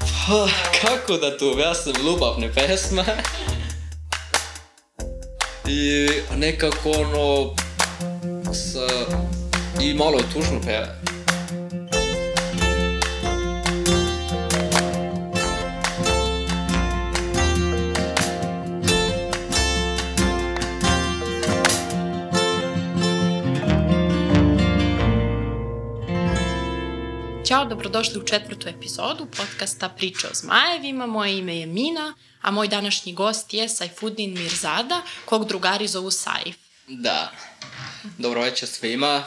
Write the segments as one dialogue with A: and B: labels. A: Ha, kako da to objasnim, ljubavne pesme. I nekako ono, sa, i malo je tužno peve.
B: Ćao, dobrodošli u četvrtu epizodu podcasta Priče o zmajevima. Moje ime je Mina, a moj današnji gost je Sajfudin Mirzada, kog drugari zovu Saif.
A: Da. Dobro večer svima.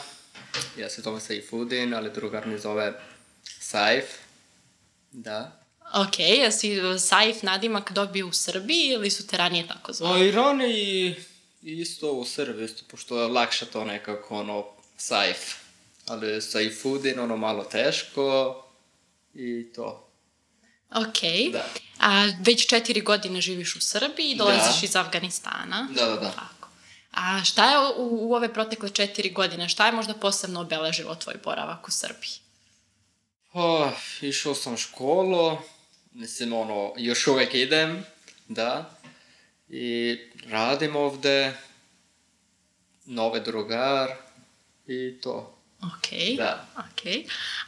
A: Ja se zovem Saifudin, ali drugar mi zove Saif. Da.
B: Ok, jesi e, Saif nadimak dobio u Srbiji ili su te ranije tako
A: O
B: zvali?
A: ironiji isto u Srbiji, isto, pošto je lakše to nekako, ono, Saif. Ali Saifudin, ono, malo teško i to.
B: Ok,
A: Da.
B: a već četiri godine živiš u Srbiji i dolaziš
A: Da.
B: iz Afganistana.
A: Da, da, da.
B: Tako. A šta je u, u ove protekle četiri godine, šta je možda posebno obeležilo tvoj boravak u Srbiji?
A: Oh, išao sam u školu, mislim ono, još uvek idem, da, i radim ovde, nove drugar i to.
B: Ok.
A: Da.
B: Ok.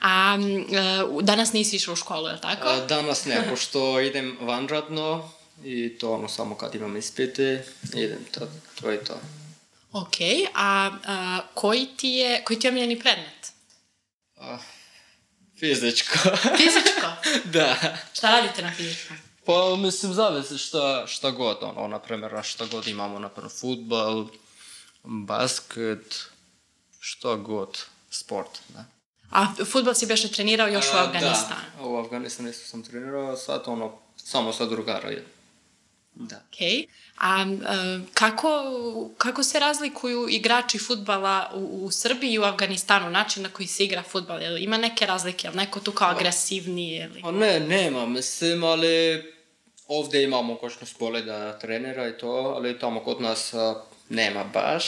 B: A m, e, u- danas nisi išao u školu, je li tako?
A: A, danas ne, pošto idem vanradno i to ono samo kad imam ispite, idem to, to je to.
B: Ok. A, a koji ti je, koji ti je omiljeni predmet?
A: Fizičko,
B: Fizičko.
A: da.
B: Šta radite na fizičkom?
A: Pa, mislim, zavisi šta, šta god, ono, na primjer, na šta god imamo, na primjer, futbal, basket, šta god, sport, da.
B: A futbol si beše trenirao još u Afganistanu.
A: E, Da, u Afganistanu isto sam trenirao, sad, ono, samo sa drugara je. Da.
B: Ok. A m, e, kako, kako se razlikuju igrači futbala u, u Srbiji i u Afganistanu, način na koji se igra futbal? Jel ima neke razlike? Jel neko tu kao agresivniji? Ili...
A: Pa ne, nema, mislim, ali ovdje ima mogućnost bolje da trenira i to, ali tamo kod nas a, nema baš.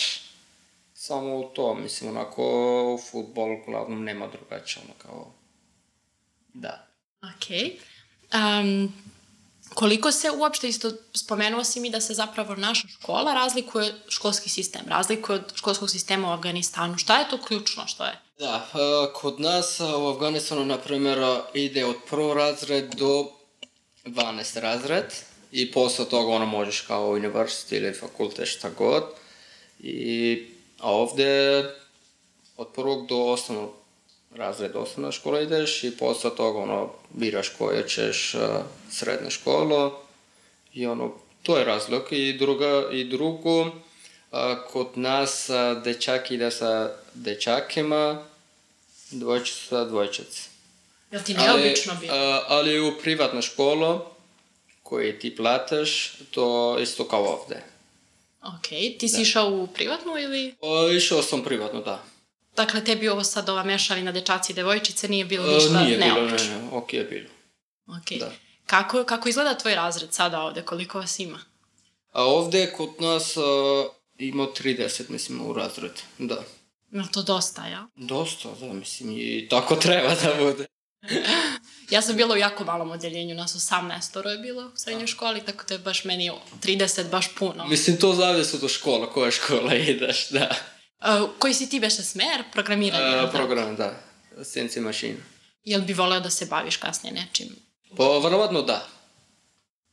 A: Samo to, mislim, onako, futbol, uglavnom, nema drugačije, ono, kao, da.
B: Ok. Um, koliko se uopšte, isto spomenuo si mi da se zapravo naša škola razlikuje, školski sistem, razlikuje od školskog sistema u Afganistanu. Šta je to ključno? Što je?
A: Da, e, kod nas e, u Afganistanu, na primjer, e, ide od prvo razred do 12 razred i posle toga ono možeš kao universitet ili fakultet šta god. I, a ovdje od prvog do osnovnog razreda osnovna škola ideš i posle toga ono biraš koje ćeš e, srednju školu i ono to je razlog i druga i drugo a, kod nas a, dečak ide sa dečakima dvojčica sa dvojčici
B: Jel ti neobično bilo?
A: a, ali u privatnu školu koju ti plataš to isto kao ovde
B: Ok, ti si
A: Da.
B: išao u privatnu ili?
A: O, išao sam privatno da
B: Dakle, tebi ovo sad ova mešavina dečaci i devojčice nije bilo
A: E,
B: ništa
A: nije bilo, ne,
B: neobično.
A: ne, ok je bilo
B: Ok.
A: Da.
B: Kako, kako izgleda tvoj razred sada ovde? Koliko vas ima?
A: A ovdje kod nas a, ima 30, mislim, u razred. Da.
B: Jel to dosta, ja?
A: Dosta, da, mislim, i tako treba da bude.
B: Ja sam bila u jako malom odeljenju, nas 18 je bilo u srednjoj školi, tako da je baš meni 30 baš puno.
A: Mislim, to zavisi od škola, koja škola ideš, da.
B: E, koji si ti beše smer? Programiranje. jel
A: A,
B: da?
A: program, da. Science mašina.
B: Jel bi voleo da se baviš kasnije nečim?
A: Pa, vjerovatno da.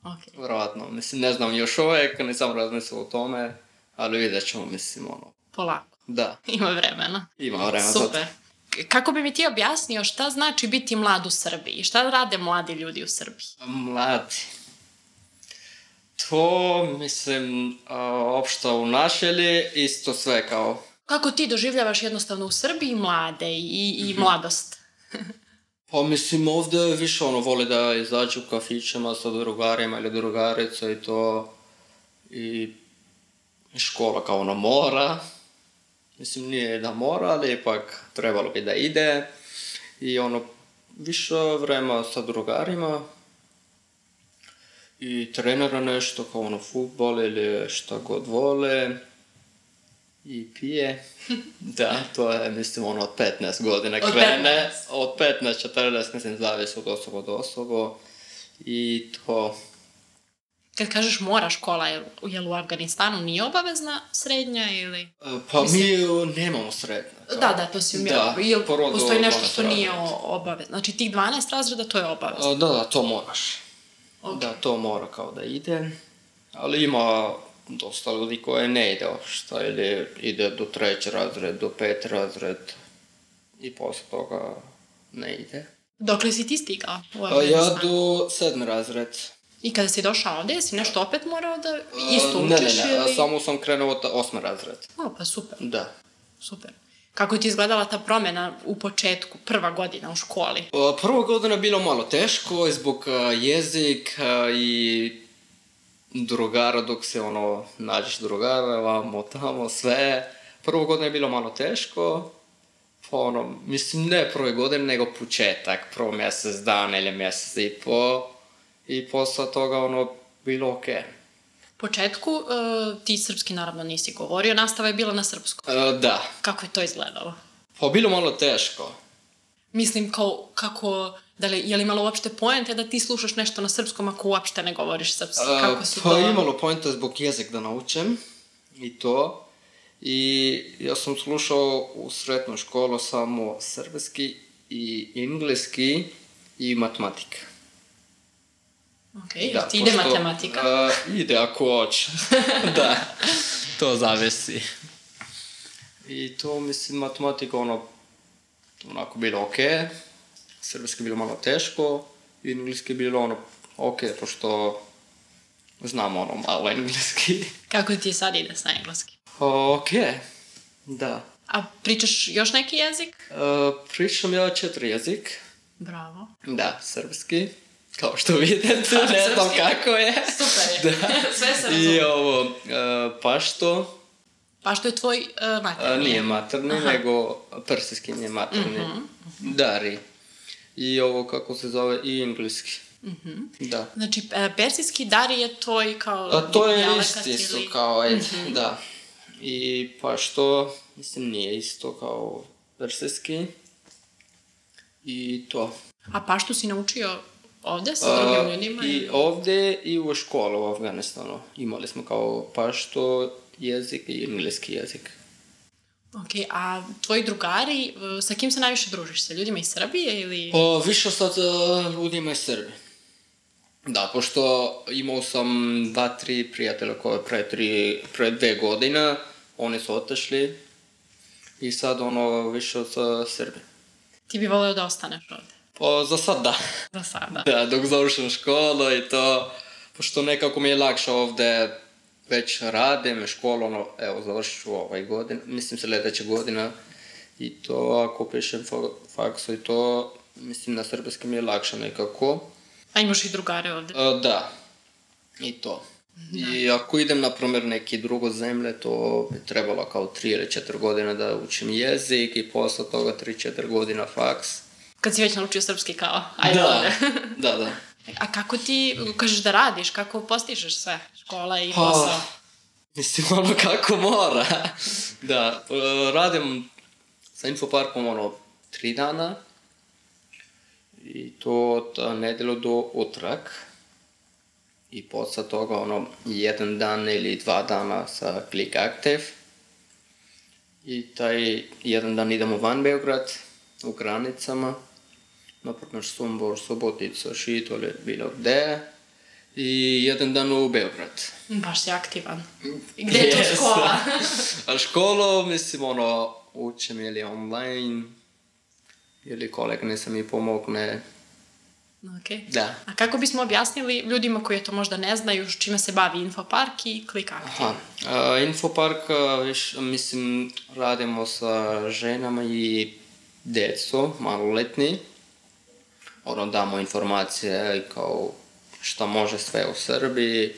B: Ok.
A: Vjerovatno. Mislim, ne znam još uvijek, nisam razmislio o tome, ali vidjet ćemo, mislim, ono.
B: Polako.
A: Da,
B: Ima vremena.
A: ima vremena za to.
B: Super. K- Kako bi mi ti objasnio šta znači biti mlad u Srbiji? Šta rade mladi ljudi u Srbiji?
A: Mladi. To, mislim, a, opšto u našelji, isto sve kao
B: Kako ti doživljavaš jednostavno u Srbiji mlade i, i
A: Mhm.
B: mladost?
A: Pa mislim ovdje više ono vole da izađu u kafićima sa drugarima ili drugarica i to i škola kao ono mora. Mislim nije da mora, ali ipak trebalo bi da ide i ono više vremena sa drugarima i trenera nešto kao ono futbol ili šta god vole i pije. Da, to je, mislim, ono, od 15 godina
B: Od
A: krene. Od 15, 14, mislim, zavisi od osoba do osoba. i to.
B: Kad kažeš mora škola, jel, jel u Afganistanu nije obavezna srednja ili...
A: E, Pa mi ju nemamo srednje.
B: Da, da, to si umjela.
A: Da,
B: jel
A: po rodu
B: postoji nešto
A: 12
B: što nije
A: razreda.
B: o- obavezno? Znači tih 12 razreda to je obavezno.
A: E, Da, da, to moraš.
B: Ok.
A: Da, to mora kao da ide. Ali ima dosta ljudi koje ne ide opšta ili ide do treći razred, do pet razred i posle toga ne ide.
B: Dokle si ti stigao u
A: A ja
B: Afganistanu?
A: do sedmi razred.
B: I kada si došao ovdje, jesi nešto opet morao da
A: A,
B: isto
A: E, ne,
B: učiš
A: ne, ne,
B: ili...
A: samo sam krenuo od osmi razred.
B: O, pa super,
A: Da.
B: super. Kako je ti izgledala ta promjena u početku, prva godina u školi?
A: O, Prva godina je bilo malo teško zbog a, jezik a, i drugara dok se ono nađeš drugara, vamo tamo sve. Prvo godina je bilo malo teško, pa ono, mislim ne prve godine nego početak, prvo mjesec dana ili mjesec i po i posle toga ono bilo okej.
B: U početku e, ti srpski naravno nisi govorio, nastava je bila na srpskom.
A: E, Da,
B: Kako je to izgledalo?
A: pa bilo malo teško.
B: Mislim, kao, kako, da li, je li imalo uopšte poente da ti slušaš nešto na srpskom ako uopšte ne govoriš srpski? Kako
A: E,
B: si
A: pa
B: to...
A: imalo pojenta zbog jezik da naučem i to. I ja sam slušao u sretnu školu samo srpski i engleski i matematika.
B: Ok, jel ti ide
A: Da, pošto,
B: matematika.
A: e, ide ako hoće. da, to zavisi. I to mislim matematika ono onako bilo ok, srpski bilo malo teško, i engleski bilo ono ok, pošto znam ono malo engleski.
B: Kako ti sad ide sa engleski?
A: ok, da.
B: A pričaš još neki jezik?
A: E, pričam ja četiri jezik,
B: Bravo.
A: da, srpski, kao što vidite, ne znam
B: Srpski.
A: kako je.
B: Super je.
A: Da.
B: Sve se
A: I
B: razumije.
A: ovo, e, pašto,
B: Pa što je tvoj uh,
A: e,
B: mater?
A: nije materni, nego persijski nije materni.
B: Mhm.
A: Dari. I ovo kako se zove, i engleski. Da.
B: Znači, e, persijski dari je tvoj kao...
A: A to je
B: dijalekat
A: isti su
B: ili- Mhm.
A: kao, e, da. I pa što, mislim, nije isto kao persijski. I to.
B: A pa što si naučio ovdje sa
A: A,
B: drugim ljudima?
A: I ovdje i u školu u Afganistanu imali smo kao pašto jezik i engleski jezik.
B: Ok, a tvoji drugari, e, sa kim se najviše družiš? Sa ljudima iz Srbije ili...
A: Pa, više sad uh, ljudima iz Srbije. Da, pošto imao sam dva, tri prijatelja koje pre, tri, pre dve godine, oni su otišli i sad ono više od uh, Srbije.
B: Ti bi voleo da ostaneš ovdje.
A: Pa, za sad da.
B: Za sada.
A: Da, dok završim školu i to, pošto nekako mi je lakše ovdje već radim, školu, ono, evo, završit ću ovaj godin, mislim sljedeća godina i to, ako pišem fa- faksu i to, mislim na srpski mi je lakše nekako.
B: A imaš i drugare ovdje.
A: E, da, i to. I ako idem, na primjer, neki drugo zemlje, to bi trebalo kao 3 ili 4 godine da učim jezik i posle toga 3-4 godina faks.
B: Kad si već naučio srpski kao, ajde
A: da,
B: ovdje.
A: da, da.
B: A kako ti, kažeš da radiš, kako postižeš sve? Škola i
A: Pa,
B: posao.
A: Mislim, ono kako mora. da, e, radim sa Infoparkom ono tri dana. I to od e, nedjelju do utrak. I posle toga ono jedan dan ili dva dana sa Click Active. I taj jedan dan idemo van Beograd, u granicama. Naprimjer Sombor, Subotica, Šitolje, bilo gde. I jedan dan u Beograd.
B: Hm, Baš si aktivan. I gdje je to
A: Jesam.
B: škola?
A: A školu, mislim, ono, učim ili online, ili kolega nisam mi pomogne.
B: Okej.
A: Da.
B: A kako bismo objasnili ljudima koji to možda ne znaju s čime se bavi Infopark i Click Active?
A: Aha. A, Infopark, a, viš, mislim, radimo sa ženama i djecu, maloletni. Ono, damo informacije eh, kao šta može sve u Srbiji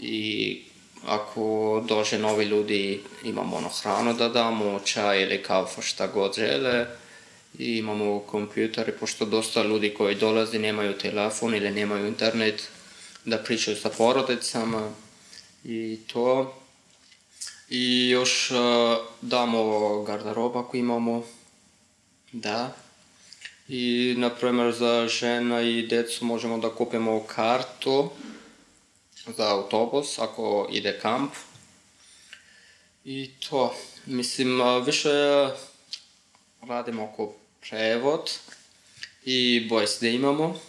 A: i ako dođe novi ljudi imamo ono hranu da damo, čaj ili kafu šta god žele i imamo kompjutere pošto dosta ljudi koji dolazi nemaju telefon ili nemaju internet da pričaju sa porodicama i to i još e, eh, damo garderoba koju imamo da I, na primjer, za žena i decu možemo da kupimo kartu za autobus ako ide kamp. I to, mislim, a, više radimo oko prevod i boys da imamo.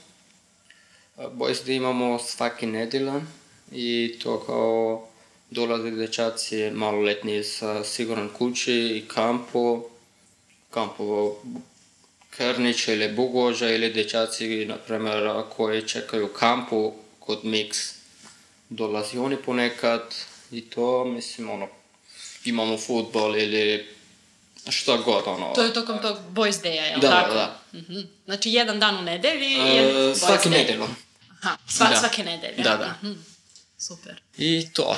A: A, Boys da imamo svaki nedelan i to kao dolaze dečaci maloletni sa siguran kući i kampu, kampovo Krnić ili Bugoža ili dečaci, na primjer, koji čekaju kampu kod Mix. Dolazi oni ponekad i to, mislim, ono, imamo futbol ili šta god, ono.
B: To je tokom tog boys day-a, jel
A: Da, da,
B: tako?
A: da.
B: Mhm. Znači, jedan dan u nedelji i
A: E,
B: jedan boys
A: svaki
B: day.
A: nedjelom.
B: Aha, sva,
A: Da.
B: svake nedelje.
A: Da, da.
B: Mhm. Super.
A: I to.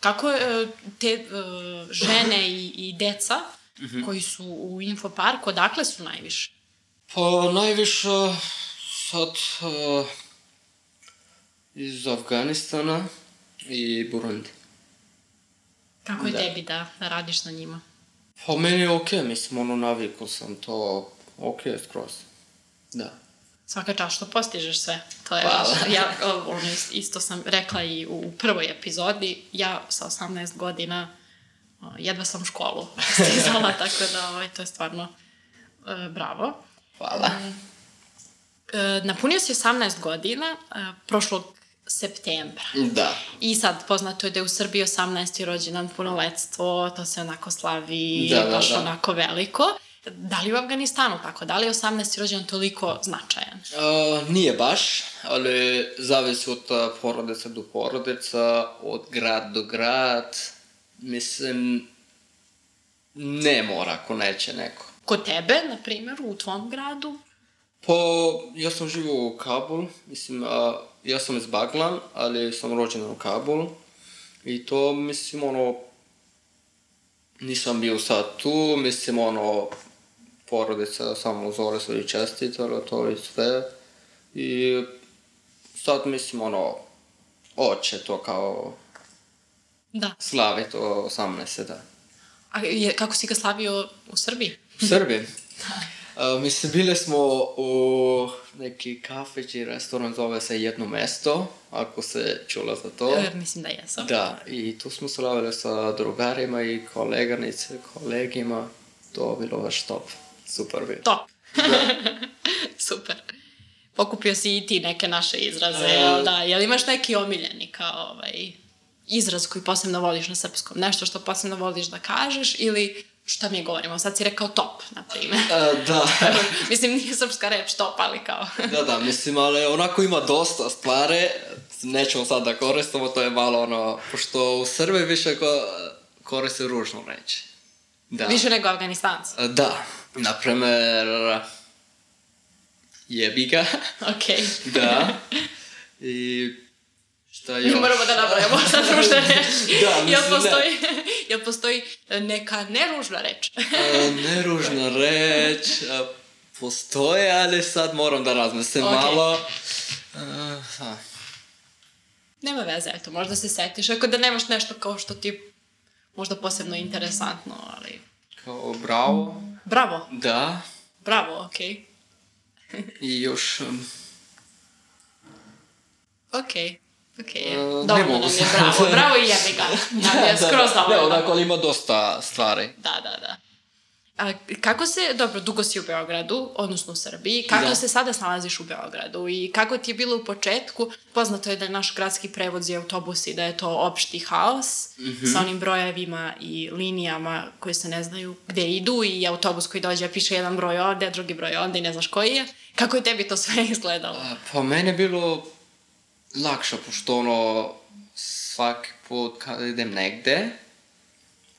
B: Kako e, te e, žene i, i deca
A: Mhm.
B: koji su u infoparku, odakle su najviše?
A: Pa najviše sad e, iz Afganistana i Burundi.
B: Kako je
A: Da.
B: tebi da, da radiš na njima?
A: Pa meni je okej, mislim, ono navikao sam to, okej skroz. Da.
B: Svaka čast što postižeš sve. To je
A: Hvala.
B: baš- ja o, ono, is- isto sam rekla i u, u prvoj epizodi, ja sa 18 godina o, jedva sam školu stizala, tako da ovaj, to je stvarno e, bravo.
A: Hvala.
B: E, napunio si 18 godina e, prošlog septembra.
A: Da.
B: I sad poznato je da je u Srbiji 18. rođendan punoletstvo, to se onako slavi,
A: Da, da,
B: baš
A: da.
B: onako veliko. Da li u Afganistanu tako? Da li je 18. rođendan toliko značajan?
A: E, nije baš, ali zavisi od e, porodice do porodica, od grad do grad. Mislim, ne mora ako neće neko.
B: Kod tebe, na primjer, u tvom gradu?
A: Pa, ja sam živio u Kabul, mislim, a, ja sam iz Baglan, ali sam rođen u Kabulu. I to, mislim, ono, nisam bio sad tu, mislim, ono, porodica samo zove su i čestitala to i sve. I sad, mislim, ono, oće to kao
B: Da.
A: slavi to 18, da.
B: A je, kako si ga slavio u Srbiji?
A: Srbi. A, mislim, bili smo u neki kafić i restoran, zove se Jedno mesto, ako se čula za to.
B: E, mislim da jesam.
A: Da, i tu smo slavili sa drugarima i koleganice, kolegima. To je bilo baš top. Super bilo.
B: Top. Super. Pokupio si i ti neke naše izraze,
A: E,
B: jel da? Jel imaš neki omiljeni kao ovaj, izraz koji posebno voliš na srpskom? Nešto što posebno voliš da kažeš ili šta mi govorimo? Sad si rekao top, na primjer.
A: A, da.
B: Mislim, nije srpska reč top, ali kao...
A: da, da, mislim, ali onako ima dosta stvari. Nećemo sad da koristimo, to je malo ono, pošto u Srbiji više ko, koriste ružnu reč. Da.
B: Više nego Afganistanci.
A: Da, na primer jebi ga,
B: Okej.
A: da. I šta
B: Mi
A: još?
B: moramo da napravimo sad ružne reči.
A: Da, mislim,
B: jel,
A: ne.
B: postoji, jel postoji neka neružna reč?
A: E, Neružna reč, e, postoje, ali sad moram da razmislim
B: Okej.
A: malo. E, ha.
B: Nema veze, eto, možda se setiš. Ako da nemaš nešto kao što ti možda posebno interesantno, ali...
A: Kao bravo,
B: Bravo,
A: da.
B: bravo, okej.
A: I još... em,
B: Okej, okej.
A: E, ne
B: Dovoljno
A: mogu
B: nam je
A: sad.
B: bravo, bravo i jebi ga. Nam je skroz
A: da, ne,
B: dovoljno.
A: onako ali ima dosta stvari.
B: Da, da, da. A kako se, dobro, dugo si u Beogradu, odnosno u Srbiji, kako
A: Da.
B: se sada snalaziš u Beogradu i kako ti je bilo u početku? Poznato je da je naš gradski prevoz i autobusi, da je to opšti haos
A: Mhm.
B: sa onim brojevima i linijama koje se ne znaju gde idu i autobus koji dođe piše jedan broj ovde, drugi broj ovde i ne znaš koji je. Kako je tebi to sve izgledalo?
A: A, Pa meni je bilo lakše, pošto ono, svaki put kad idem negde,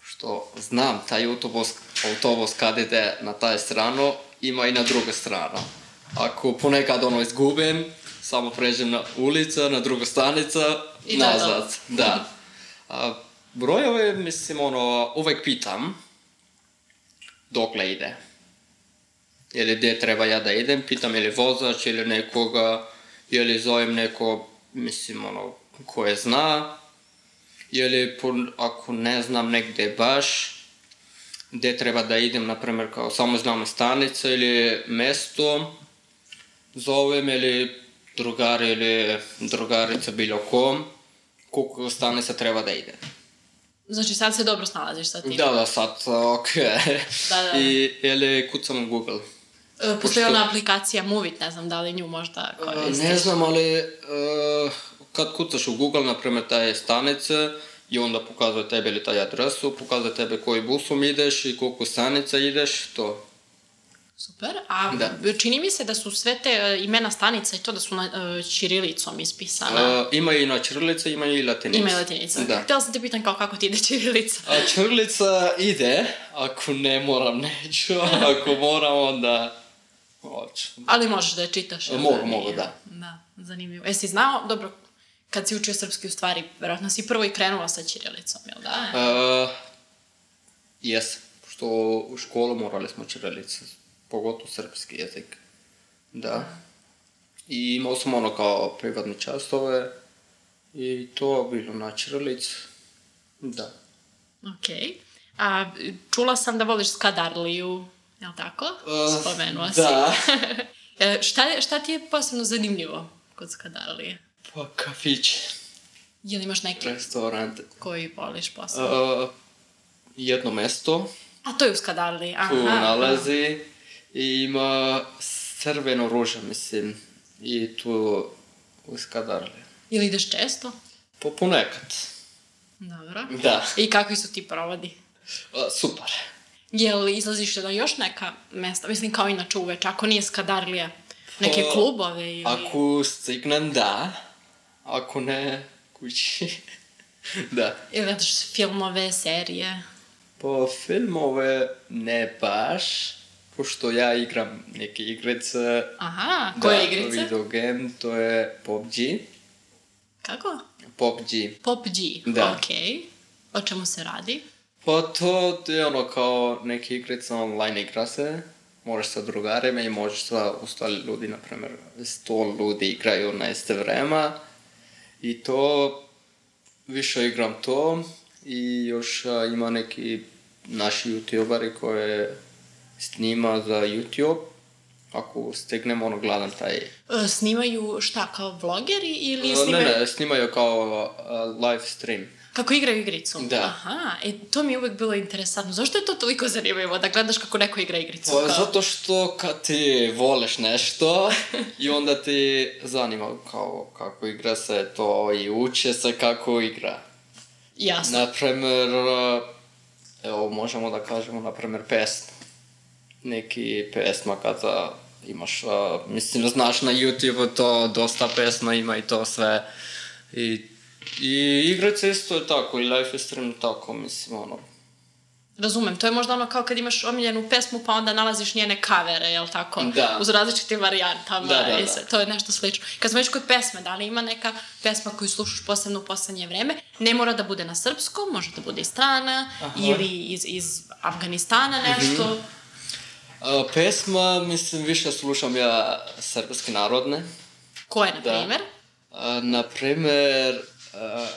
A: što znam taj autobus, autobus kad ide na taj stranu, ima i na drugu stranu. Ako ponekad ono izgubim, samo pređem na ulica, na drugu stanica,
B: I to je to.
A: nazad. Da. A, brojeve, mislim, ono, uvek pitam dokle ide ili gdje treba ja da idem, pitam ili vozač ili nekoga, ili zovem neko, mislim, ono, koje zna, ili po- ako ne znam negde baš, gde treba da idem, na primer, kao samo znam stanica ili mesto, zovem ili drugar ili drugarica bilo kom, koliko stanica treba da ide.
B: Znači sad se dobro snalaziš sa tim.
A: Da, da, sad, ok.
B: Mhm. Da, da.
A: I, ili kucam Google.
B: E, Postoji
A: Pošto-
B: ona aplikacija Movit, ne znam da li nju možda koristiš.
A: Ne znam, ali e, kad kucaš u Google, na primer, taj stanice, i onda pokazuje tebi ili taj adresu, pokazuje tebi koji busom ideš i koliko stanica ideš, to. E,
B: Super, a
A: Da.
B: čini mi se da su sve te e, imena stanica i to da su na, e, čirilicom ispisana.
A: E, ima i na črlice, ima i latinica.
B: Ima i latinica.
A: Da.
B: Htjela sam te pitan kao kako ti ide čirilica.
A: A črlica ide, ako ne moram neću, a ako moram onda hoću.
B: Ali možeš da je čitaš. jel
A: Mogu,
B: da?
A: mogu, da.
B: Da, zanimljivo. E, si znao, dobro, kad si učio srpski u stvari, verovatno si prvo i krenula sa čirilicom, jel da?
A: E, jes, što u školu morali smo čirilice, pogotovo srpski jezik. Da. I imao sam ono kao privatne častove i to je bilo na čirilicu. Da.
B: Okej. A čula sam da voliš Skadarliju, jel tako?
A: E,
B: Spomenula si.
A: Da.
B: E, šta, je- šta ti je posebno zanimljivo kod Skadarlije?
A: Pa kafić,
B: Jel imaš neki
A: restoran,
B: koji voliš posebno?
A: Uh, jedno mesto
B: A to je u Skadarliji, aha.
A: tu nalazi i ima crveno ruža, mislim, i tu uskadarli.
B: Ili ideš često?
A: Po ponekad,
B: Dobro.
A: da.
B: I kakvi su ti provodi?
A: A, super.
B: Jel izlaziš na još neka mesta? Mislim kao inače uveč, ako nije Skadarlija, neke
A: Pa,
B: klubove ili...
A: Ako stignem, da. Ako ne, kući. da.
B: Ili gledaš filmove, serije.
A: Po filmove ne baš, pošto ja igram neke igrice.
B: Aha, koje
A: Da,
B: igrice?
A: Video game, to je PUBG.
B: Kako?
A: PUBG.
B: Pop G.
A: Da.
B: Ok. O čemu se radi?
A: Pa to je ono kao neke igrice online igra se, možeš sa drugarima i možeš sa ostali ljudi, na primjer, sto ljudi igraju na iste vrema i to više igram to i još a, ima neki naši youtuberi koje snima za YouTube ako stignem ono gledam taj
B: E, snimaju šta, kao vlogeri ili
A: E, ne
B: snimaju...
A: ne snimaju kao a, live stream
B: Kako igraju igricu?
A: Da.
B: Aha, e, to mi je uvek bilo interesantno. Zašto je to toliko zanimljivo da gledaš kako neko igra igricu?
A: Pa,
B: Kao-
A: zato što kad ti voliš nešto i onda ti zanima kao kako igra se to i uče se kako igra.
B: Jasno.
A: Naprimer, evo možemo da kažemo naprimer pesma. Neki pesma kada imaš, a, mislim znaš na YouTube to dosta pesma ima i to sve. I, i igrice isto je tako i live is stream tako mislim ono.
B: Razumem, to je možda ono kao kad imaš omiljenu pesmu pa onda nalaziš njene kavere, jel tako?
A: Da.
B: Uz različite varijantama.
A: Da, da,
B: i
A: da.
B: sve. To je nešto slično. Kad smo već kod pesme, da li ima neka pesma koju slušaš posebno u poslednje vreme? Ne mora da bude na srpskom, može da bude iz strana ili iz, iz
A: Mhm.
B: Afganistana nešto.
A: A, pesma mislim više slušam ja srpske narodne.
B: Koje, na
A: Da.
B: primer?
A: A, na primer, uh,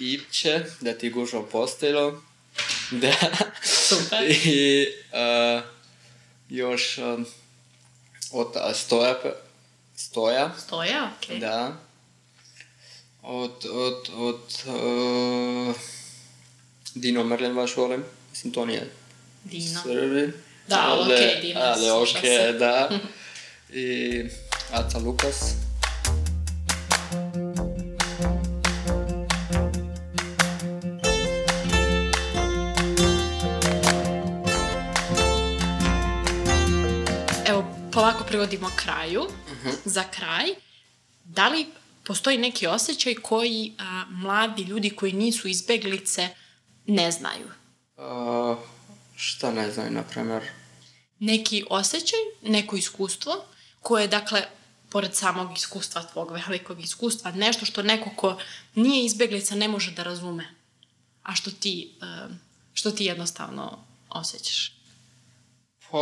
A: Ipče, da ti gužo postelo. Da.
B: Super.
A: I uh, još um, od a, Stoja. pe- Stoja,
B: Stoje, okej.
A: da. Od, od, od uh, Dino Merlin vaš volim. Mislim, to nije
B: Dino.
A: Srbi.
B: Da, ali okej, Dino,
A: Ali
B: sluša
A: okej,
B: se.
A: da. I Aca Lukas.
B: Evo, polako privodimo kraju. Za kraj, da li postoji neki osjećaj koji a, mladi ljudi koji nisu izbeglice ne znaju?
A: Uh, šta ne znam, na primjer.
B: Neki osjećaj, neko iskustvo koje, dakle, pored samog iskustva, tvog velikog iskustva, nešto što neko ko nije izbeglica ne može da razume, a što ti, e, što ti jednostavno osjećaš.
A: Pa,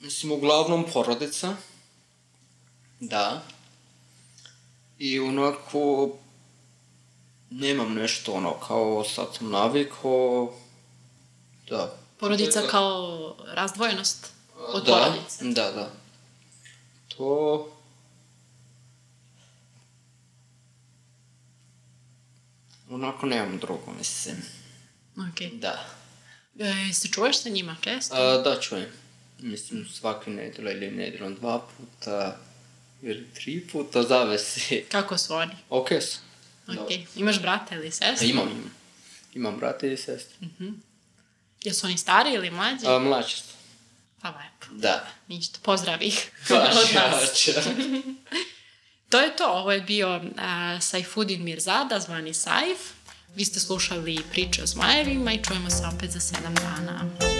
A: mislim, uglavnom porodica. Da. I onako, nemam nešto ono, kao sad sam navikao, Da.
B: Porodica kao razdvojenost od da.
A: da,
B: porodice.
A: da, da. To... Onako nemam drugo, mislim.
B: Ok.
A: Da.
B: E, se čuješ sa njima često?
A: A, da, čujem. Mislim, svake nedelje ili nedeljom dva puta ili tri puta, zavisi.
B: Kako su oni?
A: Ok su.
B: Ok.
A: Dobro.
B: Imaš brata ili
A: A,
B: sestru?
A: Imam, imam. Imam brata i sestru.
B: Jesu oni stari ili mlađi?
A: A, mlađi su.
B: Pa lepo.
A: Da.
B: Ništa. Pozdrav ih.
A: Pa,
B: od nas.
A: Pašača.
B: To je to, ovo je bio a, Saifuddin Mirzada, zvani Saif. Vi ste slušali priče o zmajevima i čujemo se opet za sedam dana.